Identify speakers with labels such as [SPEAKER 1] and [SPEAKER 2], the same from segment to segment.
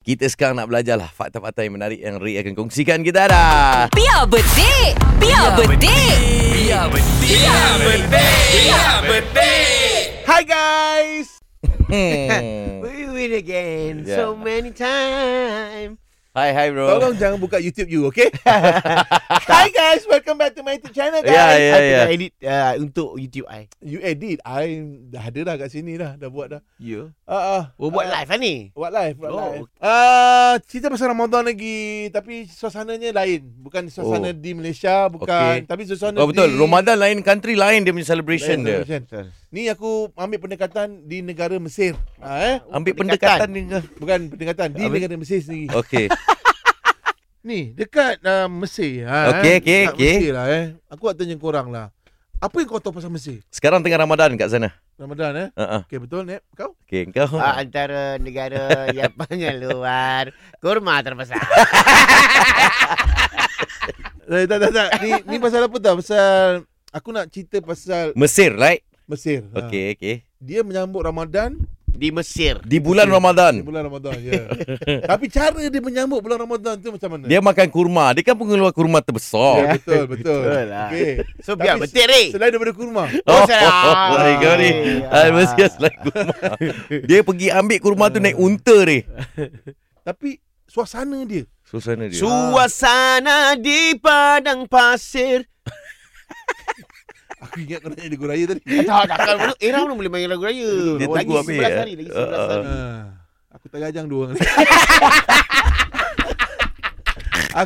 [SPEAKER 1] Kita sekarang nak belajar lah fakta-fakta yang menarik yang Rik akan kongsikan kita dah.
[SPEAKER 2] Biar betik. Biar betik.
[SPEAKER 3] Biar betik Biar betik Biar betik
[SPEAKER 4] Hi guys!
[SPEAKER 1] Hmm.
[SPEAKER 4] We win again
[SPEAKER 1] Yeah.
[SPEAKER 4] so many times.
[SPEAKER 1] Ya. Hai hai bro.
[SPEAKER 4] Tolong jangan buka YouTube you, okay? Hi guys, welcome back to my YouTube channel guys.
[SPEAKER 1] Yeah, yeah,
[SPEAKER 4] I tengah
[SPEAKER 1] yeah.
[SPEAKER 4] edit uh, untuk YouTube I.
[SPEAKER 5] You edit I dah ada dah kat sini dah Dah buat dah
[SPEAKER 4] You?
[SPEAKER 5] uh, uh,
[SPEAKER 4] Oh, buat
[SPEAKER 5] uh,
[SPEAKER 4] live lah ni.
[SPEAKER 5] Buat live, buat
[SPEAKER 4] Oh,
[SPEAKER 5] oh, live. Uh, cerita pasal Ramadan lagi Tapi suasananya lain Bukan
[SPEAKER 1] Oh.
[SPEAKER 5] suasana oh. di Malaysia Bukan
[SPEAKER 1] Okay.
[SPEAKER 5] okay. Tapi suasana
[SPEAKER 1] Oh betul,
[SPEAKER 5] di
[SPEAKER 1] Ramadan lain country lain dia punya celebration dia.
[SPEAKER 5] Malaysia. Ni aku ambil pendekatan di negara Mesir ha, eh?
[SPEAKER 1] Ambil pendekatan
[SPEAKER 4] Pendekatan.
[SPEAKER 1] dengan
[SPEAKER 5] Bukan pendekatan Di negara Mesir sendiri
[SPEAKER 1] Okey.
[SPEAKER 5] Ni dekat uh, Mesir ha,
[SPEAKER 1] Okey,
[SPEAKER 5] eh?
[SPEAKER 1] okey,
[SPEAKER 5] Dekat
[SPEAKER 1] okey.
[SPEAKER 5] Mesir lah eh Aku nak tanya korang lah Apa yang kau tahu pasal Mesir?
[SPEAKER 1] Sekarang tengah Ramadan kat sana.
[SPEAKER 5] Ramadan eh
[SPEAKER 1] Ha ah.
[SPEAKER 5] Okay betul Nep Kau?
[SPEAKER 1] Okey, kau.
[SPEAKER 4] Uh, antara negara yang paling luar kurma terbesar.
[SPEAKER 5] Eh, tak, tak, tak. Ni, ni pasal apa tau? Pasal aku nak cerita pasal
[SPEAKER 1] Mesir, right?
[SPEAKER 5] Mesir. Ha.
[SPEAKER 1] Okey, okey.
[SPEAKER 5] Dia menyambut Ramadan
[SPEAKER 4] Di Mesir.
[SPEAKER 1] Di bulan
[SPEAKER 5] Mesir. di
[SPEAKER 1] Ramadan.
[SPEAKER 5] bulan Ramadan. Ya. Tapi cara dia menyambut bulan Ramadan tu macam mana?
[SPEAKER 1] Dia makan kurma. Dia kan pengeluar kurma terbesar.
[SPEAKER 5] Ya, betul, betul.
[SPEAKER 4] Betul lah.
[SPEAKER 5] Okey.
[SPEAKER 4] So biar
[SPEAKER 5] Tapi
[SPEAKER 4] betik ni.
[SPEAKER 5] Selain daripada kurma.
[SPEAKER 4] Oh, salah.
[SPEAKER 1] baik kau ni.
[SPEAKER 4] Ah.
[SPEAKER 1] Ah, Mesir selain kurma. Dia pergi ambil kurma tu naik unta ni.
[SPEAKER 5] Tapi suasana dia.
[SPEAKER 1] Susana dia.
[SPEAKER 4] Suasana di padang pasir.
[SPEAKER 5] Aku ingat kau nak jadi guraya tadi.
[SPEAKER 4] tak, takkan mana. Eh, Rauh boleh main lagu raya.
[SPEAKER 1] Dia
[SPEAKER 4] lagi
[SPEAKER 1] tunggu habis,
[SPEAKER 4] 11
[SPEAKER 1] eh.
[SPEAKER 4] hari, lagi
[SPEAKER 1] Ah,
[SPEAKER 4] 11
[SPEAKER 1] ah.
[SPEAKER 4] hari.
[SPEAKER 5] Ha. Aku tak gajang dua orang ni.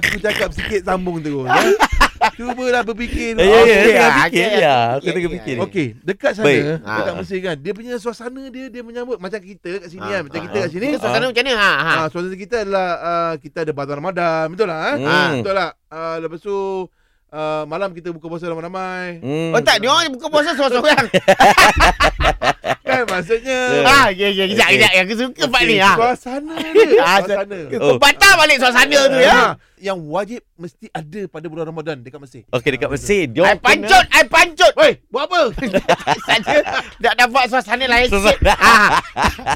[SPEAKER 5] Aku cakap sikit sambung terus. Ya? Cubalah berfikir.
[SPEAKER 1] Ya, ya, ya. Tengah
[SPEAKER 4] Okey, ah,
[SPEAKER 1] fikir. Ya,
[SPEAKER 4] okey, okey,
[SPEAKER 1] aku tengah
[SPEAKER 4] okey,
[SPEAKER 1] fikir.
[SPEAKER 5] Okey, dekat sana,
[SPEAKER 1] Baik.
[SPEAKER 5] Baik. dekat
[SPEAKER 4] Ah.
[SPEAKER 5] Mesir kan, dia punya suasana dia dia menyambut macam kita kat sini
[SPEAKER 4] Ah,
[SPEAKER 5] kan, macam
[SPEAKER 4] ah,
[SPEAKER 5] kita kat sini.
[SPEAKER 4] Kita suasana macam mana? Ha, ha.
[SPEAKER 5] Ah, suasana kita adalah uh, kita ada bazar Ramadan, betul lah. Eh?
[SPEAKER 1] Hmm.
[SPEAKER 5] Betul lah. Uh, lepas tu uh, malam kita buka puasa ramai-ramai.
[SPEAKER 1] Hmm.
[SPEAKER 4] Oh tak, dia orang buka puasa seorang-seorang.
[SPEAKER 5] kan maksudnya
[SPEAKER 4] ah, ya, ya, kejap, kejap. Yang Aku suka part ni. Ha.
[SPEAKER 5] suasana dia,
[SPEAKER 4] Ah,
[SPEAKER 5] suasana.
[SPEAKER 1] Oh.
[SPEAKER 4] Kau patah balik suasana tu ya.
[SPEAKER 5] Ah, yang wajib mesti ada pada bulan Ramadan dekat Mesir.
[SPEAKER 1] Okey, dekat Mesir. Dia
[SPEAKER 4] I
[SPEAKER 1] orang kena-
[SPEAKER 4] pancut, I pancut. Woi, buat apa? Saja tak dapat suasana lain sikit.
[SPEAKER 1] Suasana.
[SPEAKER 4] Ha.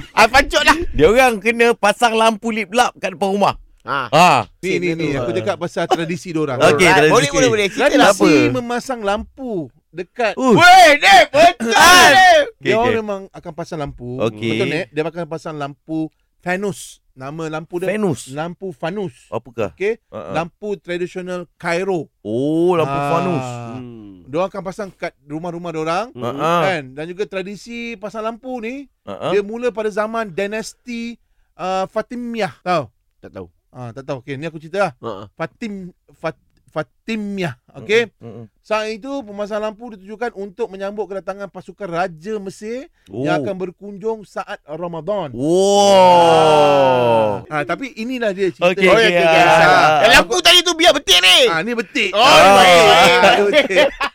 [SPEAKER 4] I pancut lah.
[SPEAKER 1] Dia orang kena pasang lampu lip lap kat depan rumah.
[SPEAKER 4] Ha.
[SPEAKER 1] Ha.
[SPEAKER 5] Ni ni ni aku cakap pasal tradisi dia orang.
[SPEAKER 1] Okey, dari
[SPEAKER 4] Alright, boleh,
[SPEAKER 1] sini.
[SPEAKER 4] boleh, boleh. Cerita lah.
[SPEAKER 1] Kenapa?
[SPEAKER 5] Tradisi memasang lampu dekat
[SPEAKER 1] Uh.
[SPEAKER 4] Weh, Dave, betul.
[SPEAKER 1] Ah.
[SPEAKER 4] Dave.
[SPEAKER 1] Okey,
[SPEAKER 5] Dia orang
[SPEAKER 1] okey.
[SPEAKER 5] memang akan pasang lampu.
[SPEAKER 1] Okey.
[SPEAKER 5] Betul ni? Dia akan pasang lampu Thanos. Nama lampu dia
[SPEAKER 1] Venus.
[SPEAKER 5] lampu Fanus.
[SPEAKER 1] Apakah?
[SPEAKER 5] Okey,
[SPEAKER 1] Ha, ha.
[SPEAKER 5] lampu tradisional Cairo.
[SPEAKER 1] Oh, lampu
[SPEAKER 5] Ah.
[SPEAKER 1] Venus.
[SPEAKER 4] Hmm.
[SPEAKER 5] Dia orang akan pasang kat rumah-rumah dia orang.
[SPEAKER 1] Ha, ha.
[SPEAKER 5] Kan? Dan juga tradisi pasang lampu ni
[SPEAKER 1] Ha, ha.
[SPEAKER 5] dia mula pada zaman dinasti uh, Fatimiyah. Tahu?
[SPEAKER 4] Tak tahu.
[SPEAKER 5] Ah, tak tahu. Okey, ni aku cerita lah.
[SPEAKER 4] Ha.
[SPEAKER 5] Fatim Fat, Fatimiyah. Okey.
[SPEAKER 1] Mm-mm.
[SPEAKER 5] Saat itu pemasangan lampu ditujukan untuk menyambut kedatangan pasukan raja Mesir
[SPEAKER 1] Oh.
[SPEAKER 5] yang akan berkunjung saat Ramadan.
[SPEAKER 1] Wow.
[SPEAKER 5] Ah, tapi inilah dia cerita.
[SPEAKER 1] Okey,
[SPEAKER 4] Oh, ya,
[SPEAKER 1] okey,
[SPEAKER 4] ya, ya.
[SPEAKER 1] ah.
[SPEAKER 4] Yang lampu tadi tu biar betik ni.
[SPEAKER 5] Ah, ni betik.
[SPEAKER 4] Oh, baik.
[SPEAKER 5] Ah, ni betik.